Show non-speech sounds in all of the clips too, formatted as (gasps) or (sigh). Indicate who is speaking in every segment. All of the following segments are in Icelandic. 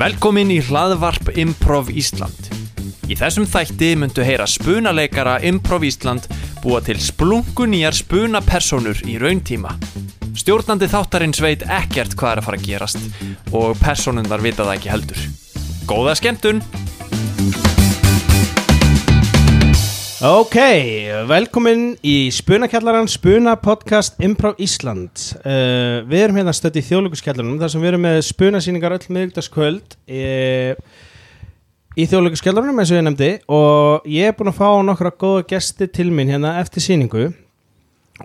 Speaker 1: Velkomin í hlaðvarp Improv Ísland. Í þessum þætti myndu heyra spunaleikara Improv Ísland búa til splunkunýjar spunapersonur í rauntíma. Stjórnandi þáttarins veit ekkert hvað er að fara að gerast og personundar vita það ekki heldur. Góða skemmtun!
Speaker 2: Ok, velkomin í Spunakjallaran, Spuna podcast Improv Ísland uh, Við erum hérna stödd í þjóðlökuskjallaranum þar sem við erum með spunasýningar öll miðugdaskvöld uh, í þjóðlökuskjallaranum eins og ég nefndi og ég er búin að fá nokkra góða gesti til mín hérna eftir sýningu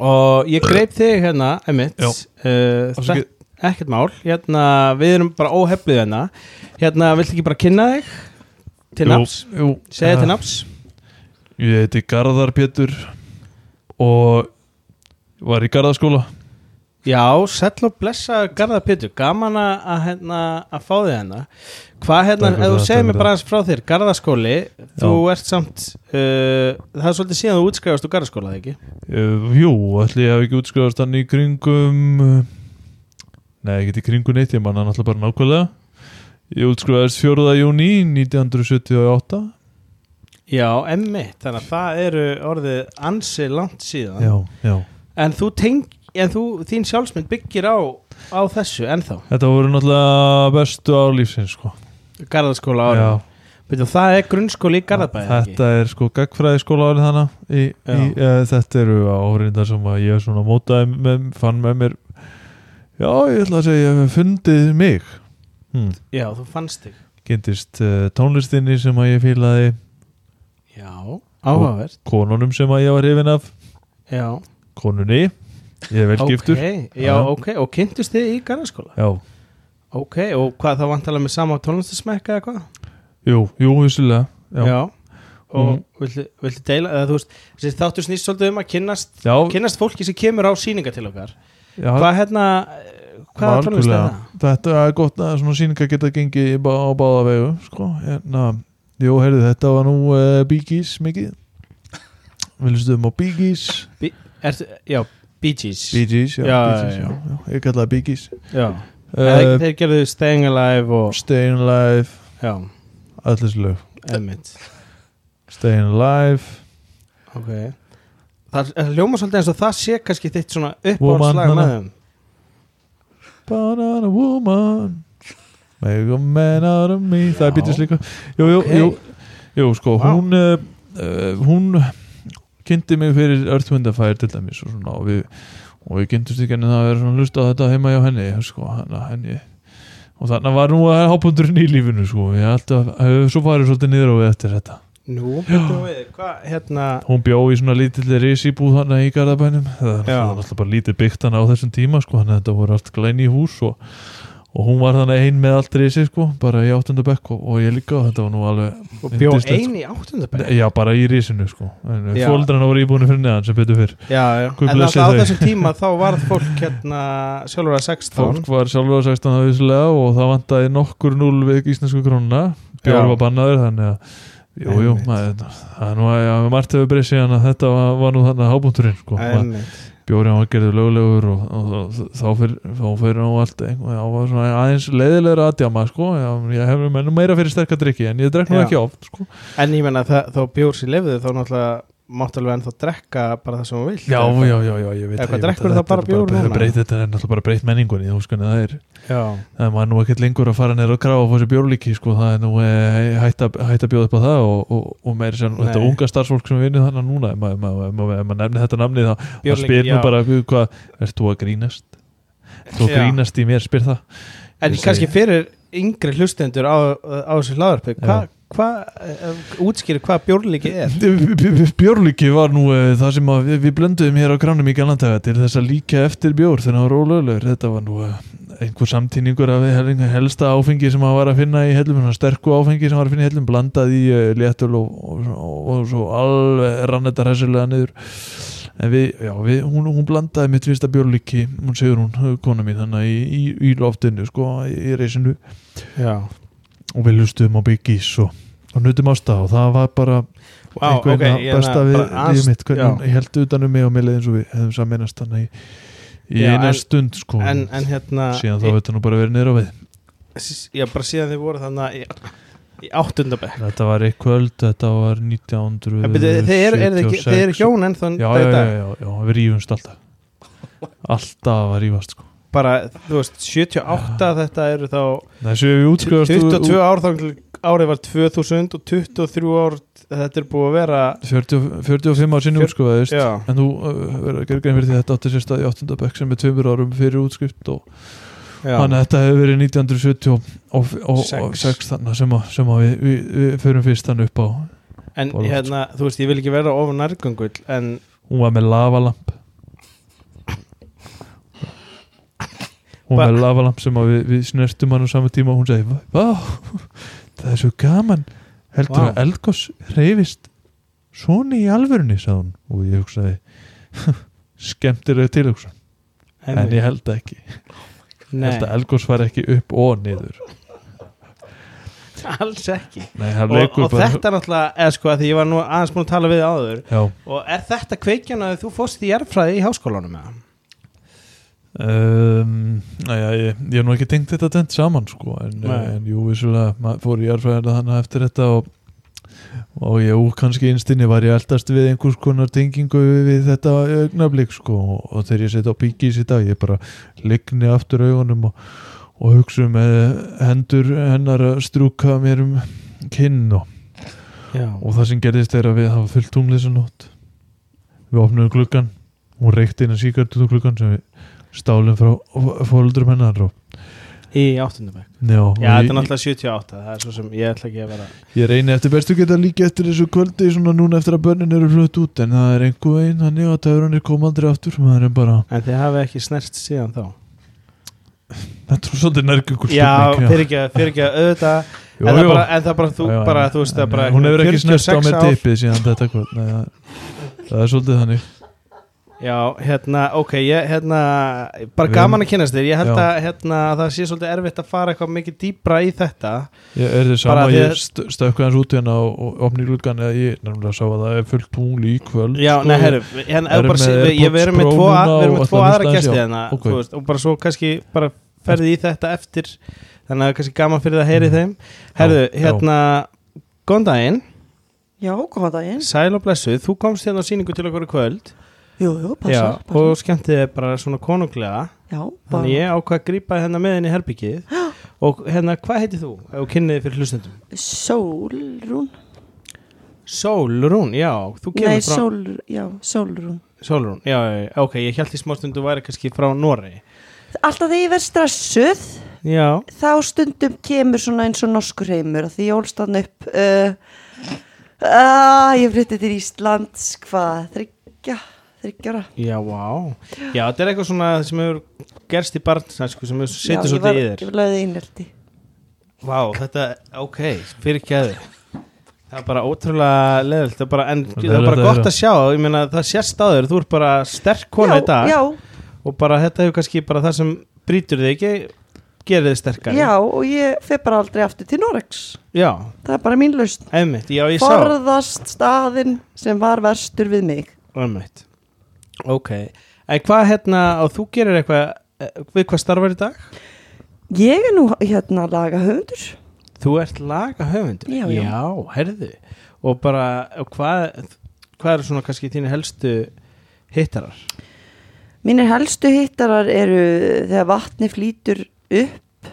Speaker 2: og ég greip þig hérna, Emmett
Speaker 3: Já.
Speaker 2: uh, þetta-
Speaker 3: Afsakið.
Speaker 2: Ekkert mál, hérna við erum bara óheflið hérna Hérna, viltu ekki bara kynna þig til nafs?
Speaker 3: Jú, jú.
Speaker 2: Segja
Speaker 3: Eh,
Speaker 2: til nafs?
Speaker 3: Ég heiti Garðar Pétur og var í Garðaskóla
Speaker 2: Já, sæll og blessa Garðar Pétur, gaman að, að, hérna, að fá þig hérna Hvað hérna,
Speaker 3: Takk fyrir
Speaker 2: ef þú
Speaker 3: það,
Speaker 2: segir
Speaker 3: takk
Speaker 2: mér
Speaker 3: fyrir
Speaker 2: bara aðeins frá þér, Garðaskóli þú ert samt, uh, það er svolítið síðan þú útskrifast úr Garðaskóla, eða ekki?
Speaker 3: uh, Jú, ætli ég hef ekki útskrifast hann í kringum eh, Nei, ekki í kringum neitt, ég manna hann alltaf bara nákvæmlega Ég útskrifast 4. júni 1978
Speaker 2: Já, emmi, þannig að það eru orðið ansi langt síðan
Speaker 3: Já, já
Speaker 2: En þú teng, en þú, þín sjálfsmynd byggir á, á þessu ennþá,
Speaker 3: Þetta voru náttúrulega bestu ár lífsins sko
Speaker 2: Garðaskóla
Speaker 3: Já,
Speaker 2: ára Veitum, það er grunnskóli í Garðabæði, eða ekki?
Speaker 3: Þetta er sko gagfræðiskóla árið hana í, í, e, Þetta eru áhrindar sem að ég svona mótaði með, fann með mér Já, ég ætla að segja ég hef fundið mig hm,
Speaker 2: Já, þú fannst þig
Speaker 3: Kynntist uh, tónlistinni sem að ég fílaði
Speaker 2: Já, áhugavert
Speaker 3: konunum sem að ég var hrifin af
Speaker 2: Já,
Speaker 3: konunni, ég er vel giftur
Speaker 2: Ok, Já,
Speaker 3: Já.
Speaker 2: ok, og kynntust þið í Garðaskóla?
Speaker 3: Já,
Speaker 2: Ok, og hvað þá vantalega með sama tónlistasmekka eða hvað?
Speaker 3: jú, jú, vissulega Já, já,
Speaker 2: Og
Speaker 3: Mhm.
Speaker 2: viltu, viltu deila, eða þú veist, þessi þáttur snýst svolítið um að kynnast,
Speaker 3: já,
Speaker 2: kynnast fólki sem kemur á síninga til okkar.
Speaker 3: já
Speaker 2: Hvað hérna, eh, hvaða tónlist er
Speaker 3: Algjörlega.
Speaker 2: það?
Speaker 3: Þetta er gott að svona síningar geta gengið í bá- á báða vegu sko. hérna, Jú, heyrðu, þetta var nú uh, Bíkís mikið Við lustum á Bíkís
Speaker 2: Ertu, já, Bee Gees.
Speaker 3: Bíkís, já,
Speaker 2: Já,
Speaker 3: Bee Gees,
Speaker 2: já,
Speaker 3: já, já. Ég kallaði Bíkís
Speaker 2: já, þeir,
Speaker 3: uh,
Speaker 2: þeir gerðu Staying Alive og,
Speaker 3: Stayin' Alive
Speaker 2: já,
Speaker 3: Allis lög
Speaker 2: Emmett.
Speaker 3: Stayin' Alive
Speaker 2: Ok. Það það hljómar svolítið eins og það sé kannski þitt svona
Speaker 3: Woman,
Speaker 2: uppáhaldslag með
Speaker 3: hana.
Speaker 2: þeim.
Speaker 3: Banana Woman Make a man out of me
Speaker 2: Já.
Speaker 3: Það er bítið slíka Jú, jú,
Speaker 2: Ok.
Speaker 3: jú, jú sko,
Speaker 2: Vá.
Speaker 3: hún uh, uh, hún kynnti mig fyrir Earthwindafire til dæmis og svona og við, og við kynntumst ekki henni það er svona hlusta á þetta heima hjá henni sko, hana, henni og þannig var nú að hápundurinn í lífinu sko, ég alltaf, hef svo farið svolítið niður á við eftir þetta.
Speaker 2: Nú, betur við, hvað, hérna,
Speaker 3: Hún bjó í svona lítilli risibúð hana í Garðabænum, það var
Speaker 2: Já.
Speaker 3: náttúrulega alltaf bara lítið byggt hana á þessum tíma sko, þannig að þetta voru allt glæni hús og, og hún var þannig ein með allt risi sko, bara í áttundabekk og, og ég líka og þetta var nú alveg
Speaker 2: og bjó
Speaker 3: Yndislegt,
Speaker 2: ein í áttundabæk.
Speaker 3: Nei, Já, bara í risinu sko
Speaker 2: Já.
Speaker 3: Fóldrana voru íbúinu fyrir neðan sem betur fyrr
Speaker 2: Já, já,
Speaker 3: Guð
Speaker 2: en
Speaker 3: blessi
Speaker 2: alltaf á
Speaker 3: þau.
Speaker 2: þessum tíma þá varð fólk hérna sjálfur að 16
Speaker 3: Fólk var sjálfur á 16 ára vissulega og það vantaði nokkur núl við íslensku krónuna Bjór
Speaker 2: Já.
Speaker 3: var bannaður þannig að Jú, jú,
Speaker 2: Einmitt.
Speaker 3: maður- það er nú að já, margt hefur breyst síðan að þetta var, var nú þannig að hábúnturinn sko.
Speaker 2: Einmitt.
Speaker 3: Bjórið var gerðið löglegur og, og, og þá fyrir þá fyrir nú allt einhver, þá var svona aðeins leiðilegur aðdjama sko. Já, ég hef nú meira fyrir sterka drikki en ég drekk nú
Speaker 2: Já.
Speaker 3: ekki oft sko.
Speaker 2: En ég menna þá bjór sér lifið þá náttúrulega mátt alveg ennþá drekka bara það sem hún vilt
Speaker 3: Já,
Speaker 2: eða
Speaker 3: já,
Speaker 2: eitthvað.
Speaker 3: já, já, ég veit
Speaker 2: Eða hvað,
Speaker 3: ég veit
Speaker 2: drekkur
Speaker 3: að
Speaker 2: það
Speaker 3: þetta
Speaker 2: bara
Speaker 3: er
Speaker 2: bjór
Speaker 3: þetta
Speaker 2: núna?
Speaker 3: er breytt- Þetta er náttúrulega bara breytt menningunni þú sko, en það er
Speaker 2: já
Speaker 3: það er maður nú ekkert lengur að fara neður og grafa og fá sér bjórlíki sko, það er nú eh, hætt að hætt að bjóða upp á það og, og, og meira sér þetta
Speaker 2: Nei.
Speaker 3: unga starfsfólk sem vinnur þannig núna ef maður ma, ma, ma, ma, ma nefnir þetta namni þá, þá
Speaker 2: Bjórleiki,
Speaker 3: spyr nú
Speaker 2: já.
Speaker 3: bara "Guð, hvað, ert þú að grínast? Ert þú að
Speaker 2: Já.
Speaker 3: grínast í mér, spyr það
Speaker 2: En
Speaker 3: Ég
Speaker 2: kannski
Speaker 3: segi-
Speaker 2: fyrir yngri hlustendur á, á þessu hlaðarpið hvað hva, útskýri hvað bjórlíki
Speaker 3: (laughs)
Speaker 2: er
Speaker 3: Bjórlíki var nú eh, það sem að við, við blönduðum hér á gránum í galandaga til þess að líka eftir bjór þegar það var ólöglegur þetta var nú eh, einhver samtíningur af hel- helsta áfengi sem að var að finna í hellum svona sterku áfengi sem var að finna í hellum blandað í eh, léttul og, og, og, og svo alveg rann þetta hressulega niður en við, já, við, hún, hún blandaði mitt fyrsta bjórlíki hún segur hún, kona mín þannig í, í, í loftinu sko, í, í reysinu
Speaker 2: Já
Speaker 3: og við hlustum á byggis og, og nutum ásta og það var bara
Speaker 2: Vá,
Speaker 3: einhvern
Speaker 2: ok,
Speaker 3: okay,
Speaker 2: ég
Speaker 3: besta
Speaker 2: meina,
Speaker 3: við
Speaker 2: bara aðeins-
Speaker 3: lífið mitt
Speaker 2: já.
Speaker 3: hvernig hún held utan um mig og mér leið eins og við hefðum saminast þannig í, í
Speaker 2: Já,
Speaker 3: eina
Speaker 2: en-
Speaker 3: stund sko
Speaker 2: en, en hérna
Speaker 3: síðan þá hefði þetta nú bara verið niður á við
Speaker 2: Já, bara síðan þið voru þannig í, í áttundabæk
Speaker 3: Þetta var eitt kvöld, þetta var 1900
Speaker 2: Þeir eru er, er, er hjón ennþá
Speaker 3: Já, já,
Speaker 2: dag í
Speaker 3: já,
Speaker 2: dag.
Speaker 3: já, já, við rífumst
Speaker 2: (laughs)
Speaker 3: alltaf Alltaf að rífast sko
Speaker 2: Bara, þú veist, 78 þetta eru þá
Speaker 3: Þessu hefur við útskjöðast
Speaker 2: 22 ár þá árið var 2000 og 23 ár þetta er búið að vera
Speaker 3: 40, 45 ár sinni
Speaker 2: Fjör-
Speaker 3: útskjöðast
Speaker 2: Já,
Speaker 3: En þú uh, verður að gera grein fyrir því að þetta átti sér stað í 8. bekk sem er tveimur árum fyrir útskrift og
Speaker 2: já,
Speaker 3: þannig að þetta hefur verið 1976
Speaker 2: Sex.
Speaker 3: þannig sem, að, sem að við, við, við förum fyrst þannig upp á
Speaker 2: en
Speaker 3: Bólvart.
Speaker 2: hérna, þú veist, ég vil ekki vera ofan nærgöngull en
Speaker 3: hún var með lavalamp hún var
Speaker 2: Ba-
Speaker 3: með lavalamp sem að við, við snertum hann á sama tíma og hún segi Vá, það er svo gaman heldur
Speaker 2: Vá.
Speaker 3: að eldgoss reyfist svona í alvörunni sagði hún og ég hugsaði (laughs) skemmtilega tilhugsa en ég held það ekki
Speaker 2: nei,
Speaker 3: held að eldgoss fari ekki upp og niður
Speaker 2: (laughs) alls ekki
Speaker 3: Nei, hann
Speaker 2: og,
Speaker 3: leikur
Speaker 2: og þetta er náttúrulega, eða sko, að því ég var nú aðeins múin að tala við áður
Speaker 3: já,
Speaker 2: og er þetta kveikjan að þú fórst í erfræði í háskólanum eða?
Speaker 3: Um, næja, ég, ég hef nú ekki tengt þetta dent saman sko, en,
Speaker 2: Nei.
Speaker 3: en jú, vissulega maður fór í jarðfræðina þannig eftir þetta og, og ég úr kannski innstinni var ég eldast við einhvers konar tengingu við, við þetta augnablík sko, og, og þegar ég setja á bíkis í dag ég bara ligni aftur augunum og, og hugsa um eh, hendur hennar að strúka mér um kinn og,
Speaker 2: Já,
Speaker 3: og það sem gerðist er að við hafa fullt tungli þessa nótt við opnum gluggan hún reykti inn að síkartu úr gluggan sem við stálum frá fólundurum hennar og,
Speaker 2: í áttundabæk
Speaker 3: já, og
Speaker 2: Já, þetta er
Speaker 3: ég,
Speaker 2: náttúrulega 78, það er svo sem ég ætla ekki að vera
Speaker 3: ég reyni eftir bestu geta líka eftir þessu kvöldi svona núna eftir að börnin eru hlut út en það er einhver veginn þannig að töfranir koma aldrei aftur maður er bara,
Speaker 2: En þið hafi ekki snert síðan þá
Speaker 3: þetta er svolítið nærgöngur
Speaker 2: Já, fyrir ekki, fyrir ekki að auðvitað en, það bara, en það bara, þú,
Speaker 3: Já, já,
Speaker 2: bara,
Speaker 3: en-
Speaker 2: þú veist, það
Speaker 3: en
Speaker 2: bara
Speaker 3: hún hefur ekki snert á
Speaker 2: 46
Speaker 3: með
Speaker 2: ár.
Speaker 3: tippið síðan þetta kvöld Nei, það, það er svolítið þannig
Speaker 2: Já, hérna, ok, ég, hérna bara
Speaker 3: Við-
Speaker 2: gaman að kynast þér, ég held
Speaker 3: Já.
Speaker 2: að hérna, það sé svolítið erfitt að fara eitthvað mikið dýpra í þetta
Speaker 3: Ég er þið sama,
Speaker 2: Bara því
Speaker 3: ég
Speaker 2: að-
Speaker 3: st stökka hans út hérna og, og opni gluggan eða ég nefnilega sá að það er fullt tungli í kvöld
Speaker 2: Já,
Speaker 3: sko,
Speaker 2: nei,
Speaker 3: ég-
Speaker 2: herru, hérna, ef
Speaker 3: erum
Speaker 2: bara,
Speaker 3: með
Speaker 2: sé- við- ég verðum með
Speaker 3: AirPods
Speaker 2: tvo,
Speaker 3: Pro
Speaker 2: að-
Speaker 3: núna
Speaker 2: við erum
Speaker 3: og
Speaker 2: með tvo
Speaker 3: allan
Speaker 2: aðra
Speaker 3: slags,
Speaker 2: gæsti
Speaker 3: já,
Speaker 2: hérna
Speaker 3: ok.
Speaker 2: þú veist, og bara svo kannski bara ferðið í þetta eftir þannig að það er kannski gaman fyrir það að heyri
Speaker 3: Mm.
Speaker 2: þeim Herðu,
Speaker 3: Já, já.
Speaker 2: hérna, góðan daginn
Speaker 4: Já, góðan daginn.
Speaker 2: Sæl og blessuð, þú komst hérna á síningu til okkur í kvöld
Speaker 4: Jú, jú,
Speaker 2: Já,
Speaker 4: passa.
Speaker 2: og skemmtið er bara svona konunglega
Speaker 4: Já, bara.
Speaker 2: Þannig ég ákvað að grípa hérna með henni í
Speaker 4: (gasps)
Speaker 2: herbyggið og hérna, hvað heitir þú? Og kynniði fyrir hlustendum
Speaker 4: Sólrún.
Speaker 2: Sólrún, já, þú kemur
Speaker 4: Nei,
Speaker 2: frá
Speaker 4: sól, já, sólrún.
Speaker 2: Sólrún, já, já, já, ok, ég held í smástundu væri kannski frá Noregi
Speaker 4: Alltaf þegar ég verð stressuð,
Speaker 2: Já,
Speaker 4: þá stundum kemur svona eins og norskur heimur, að því ég ólst hann upp, uh, uh, ég flytti til Íslands, hvað, þryggja, þryggjara.
Speaker 2: já, vá Já, þetta er eitthvað svona sem hefur gerst í barnsæsku sem hefur setið svolítið í þér
Speaker 4: Ég löði einhelti.
Speaker 2: Vá, þetta, ok, fyrir gæði Það er bara ótrúlega leðilt, það er bara, en,
Speaker 3: Það er
Speaker 2: það er bara
Speaker 3: þetta
Speaker 2: gott
Speaker 3: eru.
Speaker 2: að sjá, ég meina það sést á þér, þú ert bara sterk kona í dag
Speaker 4: Já,
Speaker 2: og bara þetta hefur kannski bara það sem brýtur þig ekki gerir þig
Speaker 4: já,
Speaker 2: sterkari
Speaker 4: já, og ég fer bara aldrei aftur til Noregs.
Speaker 2: já
Speaker 4: Það er bara mín lausn.
Speaker 2: einmitt, já ég sá
Speaker 4: Forðast staðinn sem var verstur við mig.
Speaker 2: einmitt. ok, en hvað hérna og þú gerir eitthvað, eh, við hvað starfar í dag?
Speaker 4: Ég er nú hérna laga höfundur.
Speaker 2: þú ert laga höfundur
Speaker 4: Já, já.
Speaker 2: herðu og bara, og hvað hvað eru svona kannski þínu helstu hittarar?
Speaker 4: Mínir helstu hittarar eru þegar vatni flýtur upp.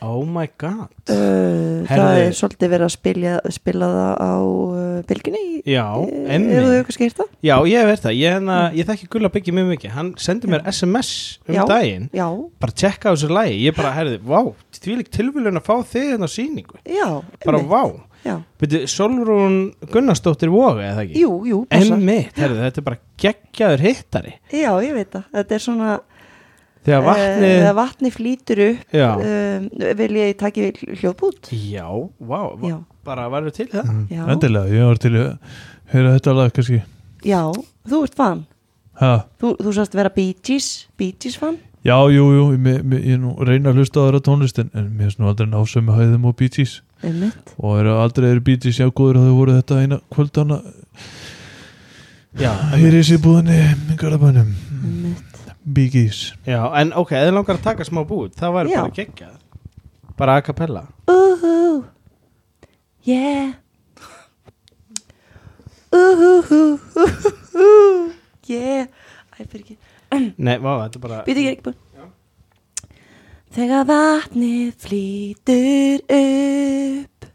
Speaker 2: oh my god
Speaker 4: Uh, það
Speaker 2: Herðu.
Speaker 4: er svolítið verið að spila, spila það á uh, bylginni. í-
Speaker 2: já,
Speaker 4: eh, Ef þú
Speaker 2: emmi
Speaker 4: hefur kannski hirt það.
Speaker 2: já, ég hef verið það, ég, hérna, ég þekki Gulla Byggi mjög mikið, hann sendi mér sms um
Speaker 4: Já.
Speaker 2: daginn
Speaker 4: Já,
Speaker 2: bara tjekka á þessu lægi, ég bara herði, vá, tvílík tilvílun að fá þig hérna á síningu,
Speaker 4: já.
Speaker 2: bara
Speaker 4: einmitt,
Speaker 2: vá
Speaker 4: Já,
Speaker 2: Byrju, Solrún Gunnarsdóttir voga eða ekki?
Speaker 4: jú, jú, passa.
Speaker 2: Emmitt, herðu, þetta er bara geggjaður hittari
Speaker 4: Já, ég veit það. Þetta er svona,
Speaker 2: Þegar vatni,
Speaker 4: eh, þegar vatni flýtur upp,
Speaker 2: já,
Speaker 4: um, vil ég taki við hljóðbút.
Speaker 2: já, vá, vá
Speaker 4: Já,
Speaker 2: bara varum til í það
Speaker 3: Mm,
Speaker 4: Já.
Speaker 3: Endilega, ég var til að heyra þetta lag kannski
Speaker 4: já, þú ert fan.
Speaker 3: ha.
Speaker 4: Þú, þú sast vera Bee Gees, Bee Gees fan.
Speaker 3: Já, jú, jú, ég, ég, ég nú reyna að hlusta á þeirra tónlistin en mér finnst nú aldrei násömi hæðum og BG's
Speaker 4: Einmitt.
Speaker 3: og eru aldrei eru BG's já góður að þau voru þetta eina kvöldana
Speaker 2: Já,
Speaker 3: hér í sér búðinni, garðabænum
Speaker 2: Mm.
Speaker 4: Einmitt.
Speaker 3: BG's
Speaker 2: já, en ok, eða langar að taka smá bút, það væri
Speaker 4: Já.
Speaker 2: bara geggjað Bara a cappella
Speaker 4: Úhú Yeah Úhú Úhú (laughs) Yeah Æ, fyrir ekki
Speaker 2: Nei, vá, þetta er bara
Speaker 4: Býtu ekki ekki búin Þegar vatnið flýtur upp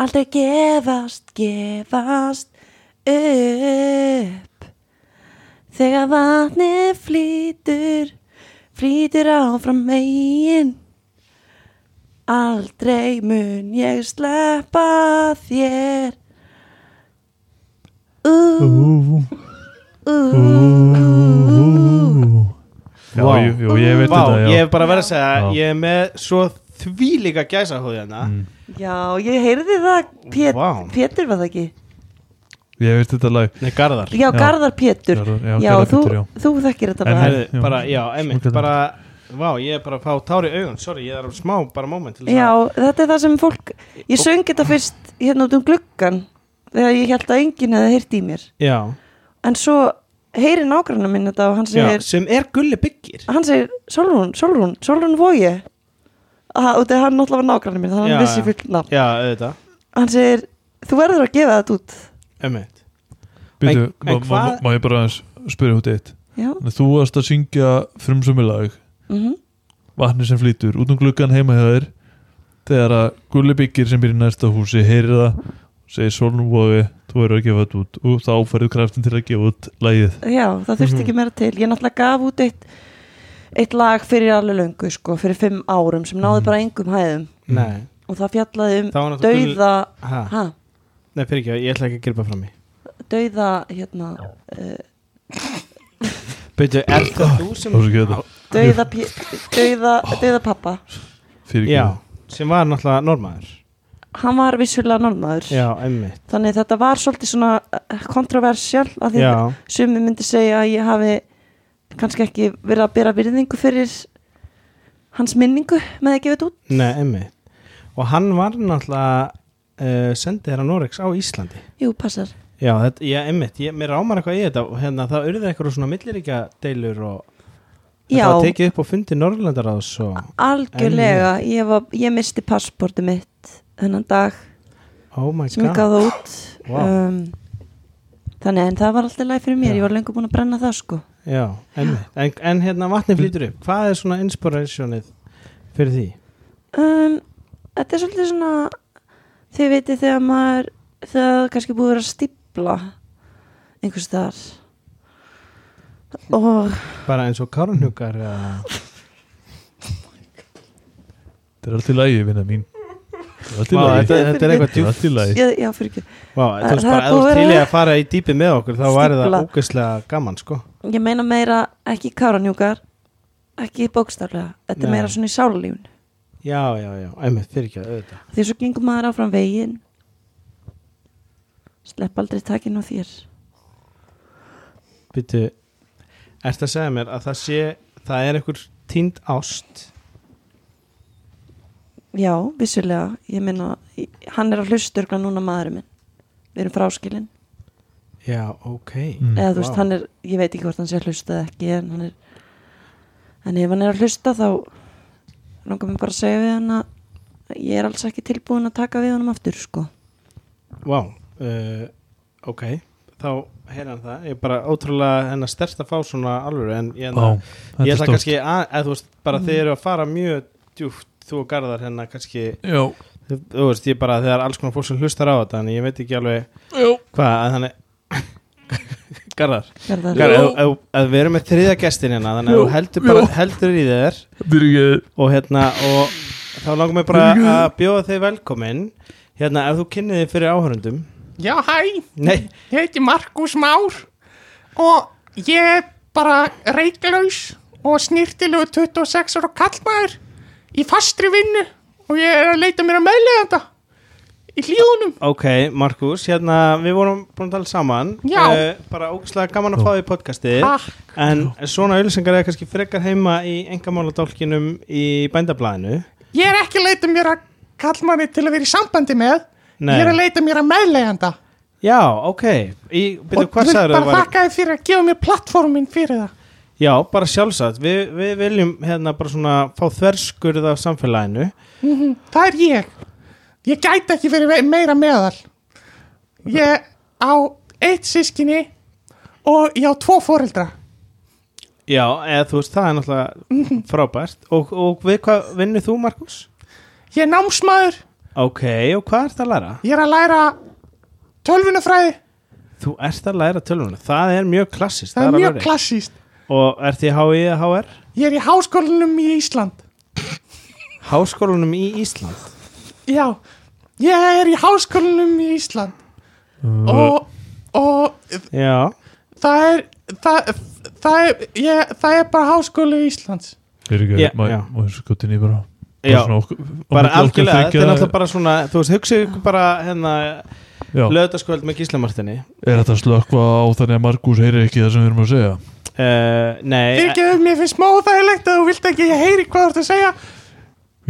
Speaker 4: Aldrei gefast, gefast upp Þegar vatnið flýtur Flýtur áfram megin Aldrei mun ég sleppa þér Ú,
Speaker 3: Ú, ú.
Speaker 4: ú,
Speaker 3: Já,
Speaker 2: Vá.
Speaker 3: jú, jú, ég veit
Speaker 2: Vá,
Speaker 3: þetta, já
Speaker 2: ég hef bara verið að segja
Speaker 3: Já. Mm.
Speaker 2: Ég er með svo þvílíka gæsa hóði hérna
Speaker 4: Já, ég heyrði það Pét,
Speaker 2: Vá.
Speaker 4: Pétur var það ekki
Speaker 3: Ég hef veit þetta lag
Speaker 2: Nei, Garðar
Speaker 4: Já,
Speaker 3: Já.
Speaker 4: Garðar Pétur
Speaker 3: Garðar-
Speaker 4: Já,
Speaker 3: já, Garðar
Speaker 4: þú,
Speaker 3: Pétur, já.
Speaker 4: þú þekkir þetta
Speaker 3: En
Speaker 4: bara
Speaker 3: heyrðu-
Speaker 2: Herðu,
Speaker 3: Já.
Speaker 2: bara, já, einmitt,
Speaker 3: Svo getur-
Speaker 2: bara Vá, ég er bara að fá tár í augun Sorry, ég er alveg smá, bara moment til þess
Speaker 4: Já,
Speaker 2: að-
Speaker 4: þetta er það sem fólk Ég söng þetta fyrst hérna út um gluggan Þegar ég held að enginn hefði heyrt í mér
Speaker 2: Já,
Speaker 4: En svo heyri nágrannar minn þetta og hann
Speaker 2: já
Speaker 4: segir,
Speaker 2: sem er gulli byggir
Speaker 4: hann segir Solrún, Solrún, Solrún Vói Og þetta er hann náttúrulega var nágrannar minn Þannig
Speaker 2: Já,
Speaker 4: hann vissi
Speaker 2: já.
Speaker 4: fullt nafn
Speaker 2: Já, auðvitað,
Speaker 4: Hann segir, þú verður að gefa þetta út
Speaker 2: einmitt
Speaker 3: Býtu,
Speaker 2: En-
Speaker 3: má,
Speaker 2: en
Speaker 3: má,
Speaker 2: hvað-
Speaker 3: má ég bara aðeins spyrja út eitt
Speaker 4: Já,
Speaker 3: Þannig að Þú varst að syngja frumsömmulag
Speaker 4: mhm
Speaker 3: Vatni sem flýtur, út um gluggan heima hjá þér Þegar að gulli byggir sem býr í næsta húsi heyrir það segir sólnum vofi, þú eru að gefa þetta út og þá færðu kraftin til að gefa út lagið
Speaker 4: Já, það
Speaker 2: Mhm.
Speaker 4: þurfti ekki meira til. Ég náttúrulega gaf út eitt, eitt lag fyrir alveg löngu, sko, fyrir fimm árum sem
Speaker 2: Mhm.
Speaker 4: náði bara engum hæðum
Speaker 2: Nei,
Speaker 4: og það fjallaði um
Speaker 2: það var náttúrulega
Speaker 4: dauða,
Speaker 2: ha.
Speaker 4: ha,
Speaker 2: Nei, fyrir ekki, ég ætla ekki að gripa fram í
Speaker 4: dauða, hérna, uh,
Speaker 2: Beidu, er það þú sem
Speaker 3: Þá er ekki þetta,
Speaker 4: dauða, pi- dauða, dauða pappa.
Speaker 3: fyrir ekki
Speaker 2: Já, sem var náttúrulega normaður
Speaker 4: Hann var vissulega normaður.
Speaker 2: Já, einmitt
Speaker 4: Þannig þetta var svolítið svona eh, kontroversial að því
Speaker 2: Já,
Speaker 4: sumi myndi segja að ég hafi kannski ekki verið að bera virðingu fyrir hans minningu með að gefa þetta út.
Speaker 2: nei, einmitt Og hann var náttúrulega uh, sendið þér að Norex á Íslandi
Speaker 4: Jú, passar.
Speaker 2: Já, þetta, já, einmitt, ég, mér rámar eitthvað í þetta og hérna, það urðið eitthvað svona milliríkja deilur og
Speaker 4: Já.
Speaker 2: þetta var tekið upp á fundi Norrlandaráðs og,
Speaker 4: Algjörlega, ég, var, ég misti passporti mitt þennan dag
Speaker 2: oh my
Speaker 4: sem ég
Speaker 2: god
Speaker 4: gaf það út
Speaker 2: Vá.
Speaker 4: um, Þannig en það var alltaf læg fyrir mér,
Speaker 2: Já.
Speaker 4: ég var lengur búin að brenna það sko
Speaker 2: Já, einmitt, en, en hérna vatni flýtur upp, hvað er svona inspirationið fyrir því?
Speaker 4: um, Þetta er svolítið svona þið veitir þegar maður þegar það er kannski búið að vera að stípla einhvers þar og
Speaker 2: Bara eins og kárnhjúkar eða
Speaker 3: Þetta er allt í lagi, vinna mín Þetta er allt í
Speaker 2: Vá,
Speaker 3: lagi
Speaker 2: þetta, þetta er eitthvað
Speaker 3: Þetta er
Speaker 2: djúpt
Speaker 3: allt í lagi
Speaker 4: já, já fyrir ekki
Speaker 2: Vá, þú veist
Speaker 4: Það er
Speaker 2: bara, ef
Speaker 4: búið
Speaker 2: þú
Speaker 4: að
Speaker 2: til
Speaker 4: vera-
Speaker 2: í að fara í dýpi með okkur þá væri það
Speaker 4: Stífla.
Speaker 2: ógeðslega gaman, sko
Speaker 4: ég meina meira ekki káranjúkar ekki bókstaflega, þetta er
Speaker 2: Nei.
Speaker 4: meira svona í sálulífun
Speaker 2: Já, já, já, einmitt, fyrir ekki að auðvitað
Speaker 4: því svo gengur maður áfram veginn slepp aldrei takin á þér
Speaker 2: Býtu, ertu að segja mér að það sé, það er einhver tínd ást
Speaker 4: já, vissulega, ég meina í- hann er að hlusturgla núna maðurinn minn við erum fráskilin,
Speaker 2: Já, ok
Speaker 3: Mm.
Speaker 4: eða þú veist,
Speaker 2: Vá.
Speaker 4: hann er ég veit ekki hvort hann sé að hlusta eða ekki en, hann er, en ef hann er að hlusta þá langar mér bara að segja við hann að ég er alls ekki tilbúin að taka við honum aftur sko,
Speaker 2: Vá, uh, ok Þá heyra hann það, ég er bara ótrúlega hennar stert að fá svona alvöru en ég, hérna-
Speaker 3: Vá, þetta
Speaker 2: ég
Speaker 3: er
Speaker 2: ætla
Speaker 3: stórt.
Speaker 2: kannski að, eða þú veist, bara mm. þið eru að fara mjög djúpt þú og Garðar hennar kannski
Speaker 3: Já,
Speaker 2: þú þú veist, ég bara, þegar alls konar fólk sem hlustar á þetta en ég veit ekki alveg
Speaker 3: já
Speaker 2: Hvað, að þannig (laughs) Garðar,
Speaker 4: Garðar
Speaker 2: Garðar ef- ef- ef við erum með þriðja gestin hérna þannig að
Speaker 3: Jú,
Speaker 2: þú heldur, bara,
Speaker 3: jú.
Speaker 2: heldur í þér
Speaker 3: Fyrir ekki
Speaker 2: og hérna og þá langar mig bara að bjóða þig velkomin hérna ef þú kynnið þig fyrir áhörundum
Speaker 5: Já, hæ,
Speaker 2: Nei,
Speaker 5: ég heiti Markus Már og ég er bara reiklaus og snýrtilegu 26 ára kallmaður í fastri vinnu og ég er að leita mér að meðleganda í hlíðunum.
Speaker 2: ok, Markus hérna við vorum búin að tala saman
Speaker 5: Já.
Speaker 2: Eh, bara ógslag gaman að fá þig í podcastið
Speaker 5: Ah,
Speaker 2: en svona auðlýsingar er kannski frekar heima í engamálodálkinum í bændablaðinu
Speaker 5: ég er ekki að leita mér að kallmanni til að vera í sambandi með, ég er að leita mér að meðleganda.
Speaker 2: Já, ok, í, byrju,
Speaker 5: og
Speaker 2: hvað
Speaker 5: vil
Speaker 2: sagður
Speaker 5: bara þakka þér fyrir að gefa mér plattformin fyrir það.
Speaker 2: Já, bara sjálfsagt Við, við viljum hérna bara svona fá þverskurð af samfélaginu
Speaker 5: Það er ég. Ég gæti ekki verið ve- meira meðal. Ég á eitt sískinni og ég á tvo foreldra.
Speaker 2: Já, eða þú veist, það er
Speaker 5: (laughs)
Speaker 2: náttúrulega frábært og, og við hvað vinnur þú, Markus?
Speaker 5: Ég er námsmaður.
Speaker 2: Ok, og hvað ert að læra?
Speaker 5: Ég er að læra tölvunafræði.
Speaker 2: Þú ert að læra tölvuna, það er mjög klassist
Speaker 5: Það er mjög klassíst.
Speaker 2: Og ert í HÍ eða HR?
Speaker 5: Ég er í háskólanum í Ísland.
Speaker 2: Háskólanum í Ísland
Speaker 5: Já, ég er í háskólanum í Ísland. Og, og
Speaker 2: Já,
Speaker 5: það er, það, það, er, ég, það er bara háskóli í Íslands.
Speaker 3: er ekki,
Speaker 2: Já,
Speaker 3: yeah, maður
Speaker 2: já.
Speaker 3: yeah. skutin í bara
Speaker 2: Já.
Speaker 3: okkur,
Speaker 2: bara algjörlega, þetta er náttúrulega
Speaker 3: bara...
Speaker 2: bara svona þú veist, hugsið ykkur bara hérna löðaskvöld með gíslamartinni
Speaker 3: er þetta slökva á þannig að Markus heyri ekki það sem við erum að segja
Speaker 2: uh, Nei,
Speaker 5: Fyrir mér finnst smá óþægilegt að þú vilt ekki að ég heyri hvað þú ert að segja.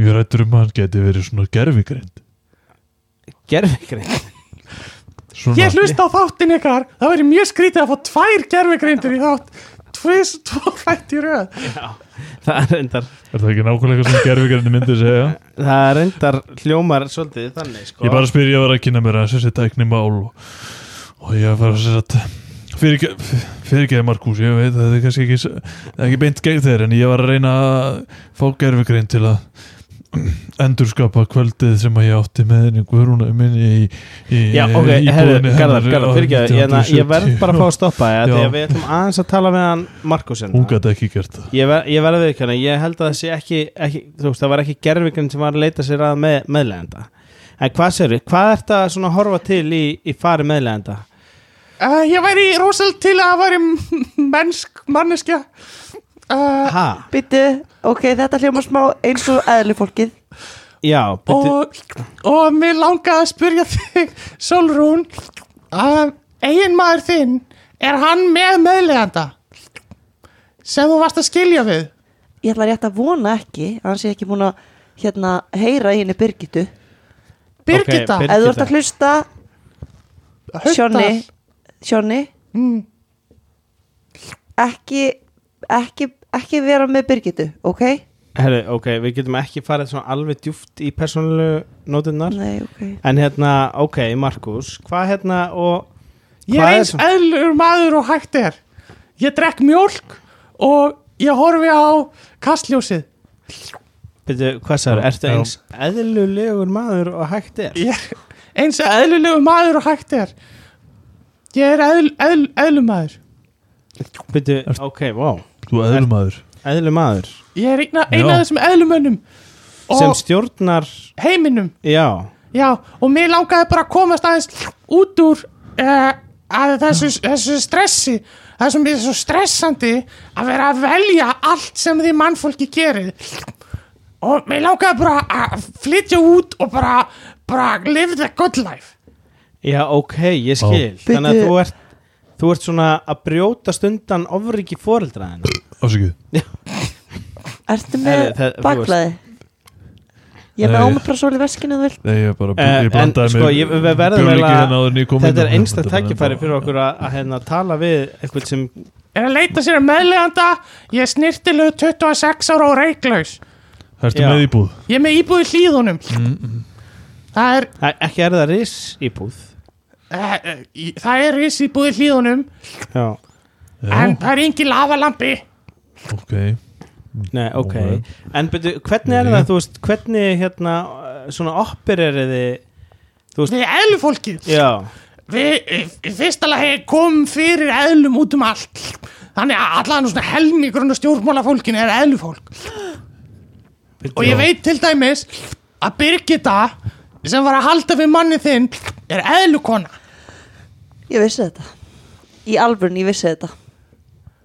Speaker 3: ég rættur um að hann geti verið svona gerfigrind
Speaker 2: eh, gerfingrein
Speaker 3: svona,
Speaker 5: Ég hlusta á þáttin ykkar, það verður mjög skrítið að fá tvær gerfigrindir í þátt. Tvis, tvo hlætt í röð.
Speaker 2: (laughs) það er reyndar,
Speaker 3: er það ekki nákvæmlega sem gerfigrindi myndi segja
Speaker 2: það er reyndar hljómar svolítið þannig sko
Speaker 3: ég bara spyr, ég var að kynna mér að þessi tækni mál og, og ég var að segja að fyrirgeði Markus, ég veit að þetta er kannski ekki, það er ekki beint gegn þeir en ég var að reyna að fá gerfigrind til að endurskapa kvöldið sem að ég átti með henni Guðrúnu minni í, í
Speaker 2: Já, ok,
Speaker 3: íbúðinni
Speaker 2: herru,
Speaker 3: hennar
Speaker 2: Garðar, Garðar,
Speaker 3: árið
Speaker 2: fyrirgeðu ég, hérna, ég verð bara að fá að stoppa þig, af því
Speaker 3: Já.
Speaker 2: að við ætlum aðeins að tala með hann Markus hérna
Speaker 3: (laughs) hún gæti ekki gert það
Speaker 2: Ég, ver, ég verði við ekki hérna, ég held að það sé ekki, ekki þú veist, það var ekki gerfingrein sem var að leita sér að með, meðlegenda En hvað sérðu, hvað ert að svona horfa til í, í fari meðlegenda?
Speaker 5: Uh, ég væri rosal til að það væri mennsk, manneskja. Uh,
Speaker 2: Ha?
Speaker 4: Byttu, ok, þetta hljóma smá eins og eðlu fólkið
Speaker 2: Já, byrju,
Speaker 5: og, og mér langaði að spyrja þig Solrún að eigin maður þinn er hann með meðleganda sem þú varst að skilja við
Speaker 4: Ég ætla rétt að vona ekki að hann sé ekki búin að hérna, heyra í henni Birgitu
Speaker 5: Birgitta
Speaker 2: Ok, Birgitta.
Speaker 5: okay,
Speaker 4: Ef þú ert að hlusta, Sjónni Sjónni
Speaker 5: Mm.
Speaker 4: ekki, ekki, ekki vera með Birgitu, ok?
Speaker 2: herru, ok, við getum ekki farið svona alveg djúft í persónulegu nótinnar
Speaker 4: Nei, ok
Speaker 2: En hérna, ok, Markus, hvað hérna og
Speaker 5: ég
Speaker 2: Hvað
Speaker 5: er
Speaker 2: er
Speaker 5: eins
Speaker 2: svo-
Speaker 5: eðlur maður og hægt er ég drekk mjólk og ég horfi á kastljósið
Speaker 2: Byrju, hvað sérðu, ertu
Speaker 3: Já.
Speaker 2: eins eðlulegur maður og hægt er?
Speaker 5: ég er eins eðlulegu maður og hægt er ég er eðl, eðl, eðlumadur
Speaker 2: Byrju, ok, wow,
Speaker 3: þú eðlumadur
Speaker 2: eðlumadur
Speaker 5: ég er eina, eina
Speaker 3: Já.
Speaker 5: af þessum eðlumönnum
Speaker 2: Sem
Speaker 5: og
Speaker 2: stjórnar,
Speaker 5: heiminum
Speaker 2: já
Speaker 5: Já, og mér langaði bara að komast aðeins út úr uh, að þessu, þessu stressi það sem er svo stressandi að vera að velja allt sem því mannfólki gerir og mér langaði bara að flytja út og bara, bara live the good life
Speaker 2: Já, ok, ég skil
Speaker 4: Bíddu.
Speaker 2: Þannig að þú ert, þú ert svona að brjóta stundan ofriki fóreldraðina
Speaker 3: ásakið
Speaker 4: Ertu með
Speaker 2: Herri, það- þú
Speaker 4: bakflæði? Ég er
Speaker 3: Nei.
Speaker 4: með ómaprasól í veskinu þú vilt
Speaker 3: Nei, ég bara,
Speaker 2: Eh,
Speaker 3: ég
Speaker 2: en
Speaker 3: blandaði
Speaker 2: sko, ég- við verðum
Speaker 3: bjó líkið
Speaker 2: eiginlega-
Speaker 3: hérna áður en ég kom inn
Speaker 2: Þetta er
Speaker 3: á-
Speaker 2: einsta
Speaker 3: Þetta var
Speaker 2: tækifæri
Speaker 3: enda-
Speaker 2: fyrir okkur að, að hérna, tala við eitthvað sem
Speaker 5: er að leita sér að meðleganda ég er snirtilegu 26 ára og reiklaus
Speaker 3: Ertu
Speaker 2: Já. Mm,
Speaker 3: með íbúð?
Speaker 5: ég er með íbúið hlýðunum það er
Speaker 2: Æ, ekki er það ris íbúð
Speaker 5: uh, uh, það er ís íbúið hlýðunum
Speaker 2: Já,
Speaker 5: en
Speaker 3: Já,
Speaker 5: það er engin lavalampi
Speaker 3: ok
Speaker 2: nei, ok
Speaker 3: Ok.
Speaker 2: En byrju, hvernig er
Speaker 3: Jæja.
Speaker 2: það, þú veist, hvernig hérna, eh, svona opererið þið
Speaker 5: við eðlu fólkið
Speaker 2: Já,
Speaker 5: Við, í- í fyrsta lagi komum fyrir eðlum út um allt Þannig að allan svona helmingurinn og stjórnmálafólkin er eðlufólk Og ég veit til dæmis að Birgitta sem var að halda við manni þinn er eðlukona
Speaker 4: Ég vissi þetta Í alvörunni, ég vissi þetta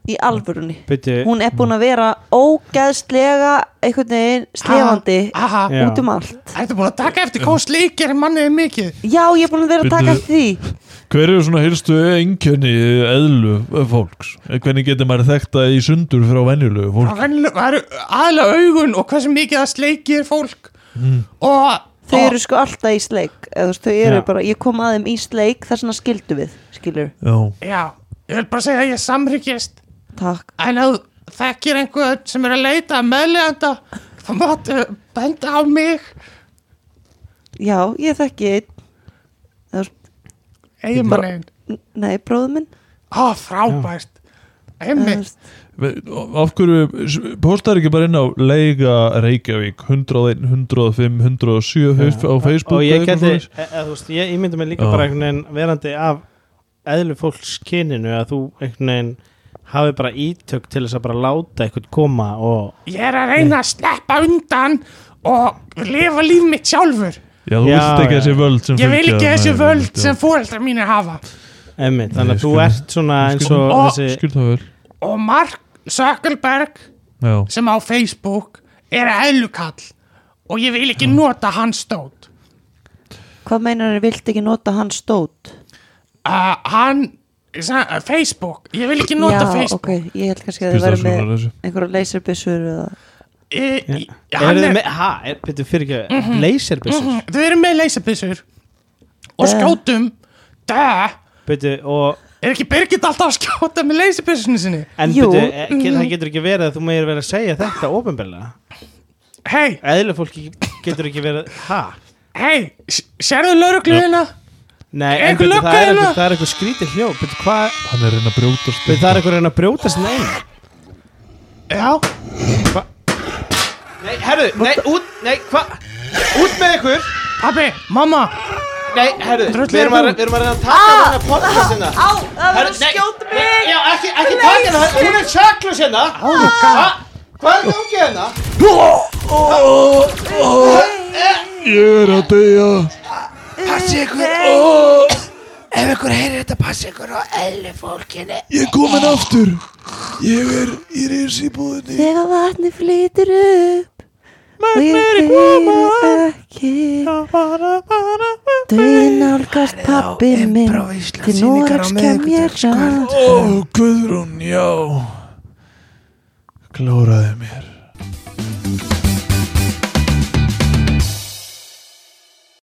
Speaker 4: Í alvörunni
Speaker 2: byrju,
Speaker 4: Hún er búin að vera ógeðslega einhvern veginn slefandi
Speaker 5: Aha,
Speaker 2: Já.
Speaker 4: út um allt
Speaker 5: Þetta er búin að taka eftir hvað hún slíkir mannið mikið
Speaker 4: Já, ég er búin að vera að taka
Speaker 3: Bíddu.
Speaker 4: eftir því
Speaker 3: Hver eru svona helstu einkenni eðlu fólks? Eh, Hvernig getur maður þekkt það í sundur frá venjulegu fólk?
Speaker 5: Venjuleg- Það eru aðlega augun og hversu mikið það sleikir fólk Og
Speaker 4: Þau
Speaker 5: og-
Speaker 4: eru sko alltaf í sleik eða, þú veist, Þau eru
Speaker 2: Já.
Speaker 4: bara, ég kom að þeim í sleik þar sem að skildu við, skilur
Speaker 3: Já,
Speaker 5: Já, ég vil bara segja að ég samryggist
Speaker 4: Takk,
Speaker 5: En að þekkir einhvern sem er að leita að meðlegenda þá máttu benda á mig
Speaker 4: Já, ég þekki einn
Speaker 5: eiginmanninn
Speaker 4: Nei, bróður minn
Speaker 5: á frábært
Speaker 4: Eða, þú
Speaker 5: einmitt,
Speaker 4: veist,
Speaker 3: Af hverju postar ekki bara inn á Leiga Reykjavík 101, 105, 107 haust- á Facebook
Speaker 2: og ég
Speaker 3: eða eitthvað
Speaker 2: geti,
Speaker 3: svoleiðis?
Speaker 2: e, e, þú veist, ég ímyndi mig líka
Speaker 3: Já.
Speaker 2: bara einhvern veginn verandi af eðlu fólkskyninu að þú einhvern veginn hafi bara ítök til þess að bara láta eitthvað koma og
Speaker 5: ég er að reyna að sleppa undan og lifa líf mitt sjálfur
Speaker 3: Já, þú
Speaker 2: Já,
Speaker 3: vilt ekki
Speaker 2: já.
Speaker 3: þessi völd sem
Speaker 5: ég vil
Speaker 3: fylgja
Speaker 5: ekki
Speaker 3: þarna,
Speaker 5: þessi
Speaker 3: já,
Speaker 5: völd
Speaker 3: já.
Speaker 5: sem fóreldrar mínir hafa
Speaker 2: emmitt, þannig
Speaker 3: Nei,
Speaker 2: að þú
Speaker 3: skil-
Speaker 2: ert svona eins
Speaker 3: skil-
Speaker 2: og
Speaker 5: Ó,
Speaker 2: þessi
Speaker 3: Skil það vel
Speaker 5: og Mark Zuckerberg
Speaker 3: Já,
Speaker 5: sem á Facebook er eðlukall og ég vil ekki nota hans stót
Speaker 4: Hvað meinar hann, vilt ekki nota hans stót?
Speaker 5: uh, hann sa- uh, Facebook, ég vil ekki nota
Speaker 4: Já,
Speaker 5: Facebook
Speaker 4: ok, ég held kannski
Speaker 3: skil
Speaker 4: að þið
Speaker 3: það
Speaker 4: verður
Speaker 3: svona
Speaker 4: með
Speaker 3: þessu
Speaker 4: einhverja leyserbissur eða
Speaker 5: okay.
Speaker 2: er
Speaker 5: hann
Speaker 2: þið
Speaker 5: er, Mhm.
Speaker 2: með, ha, er, betur fyrir ekki mm -hmm. laserbissur, mm
Speaker 5: þau eru Mhm. með leysabissur og
Speaker 4: Duh.
Speaker 5: skjótum dö,
Speaker 2: og
Speaker 5: er ekki Birgit alltaf að skjóta með leysabissunni sinni
Speaker 2: en
Speaker 4: Jú.
Speaker 2: betur, e,
Speaker 5: Mhm.
Speaker 2: get, það getur ekki verið að þú meir verið að segja þetta ofinbjörlega
Speaker 5: hei,
Speaker 2: eðlu fólki getur ekki verið, ha
Speaker 5: hei, s- sérðu laurugluðina
Speaker 2: Nei,
Speaker 5: Er
Speaker 2: en
Speaker 5: einhver
Speaker 2: betur,
Speaker 5: lögga
Speaker 2: það er
Speaker 5: hérna?
Speaker 2: eitthvað, það er eitthvað skrítið hljó betur, hvað,
Speaker 3: Hann er að reyna að brjótast
Speaker 2: betur, það er eitthvað að reyna að brjóta sinna einu
Speaker 5: já,
Speaker 2: Nei, herru, nei, út, nei, hvað út með ykkur
Speaker 5: pabbi, mamma
Speaker 2: Nei, herru,
Speaker 5: Drullið
Speaker 2: við erum að
Speaker 5: hún.
Speaker 2: við erum að reyna að taka hérna podcast hérna
Speaker 4: Á, það verður
Speaker 2: nei,
Speaker 4: skjóta
Speaker 2: nei, Já, ekki, ekki taka hérna, herru, hún er sjöklus hérna Ha? Hvað er gangið hérna?
Speaker 3: Ég er að deyja Passi ykkur Ef ykkur heyrir þetta passi ykkur á elli fólkinu Ég er komin aftur Ég er í risibúðinni
Speaker 4: Þegar vatni flýtur upp Og ég fyrir ekki Dugin nálgast pappi minn Til Norex kem ég rann
Speaker 3: Ó, Guðrún, já Klóraði mér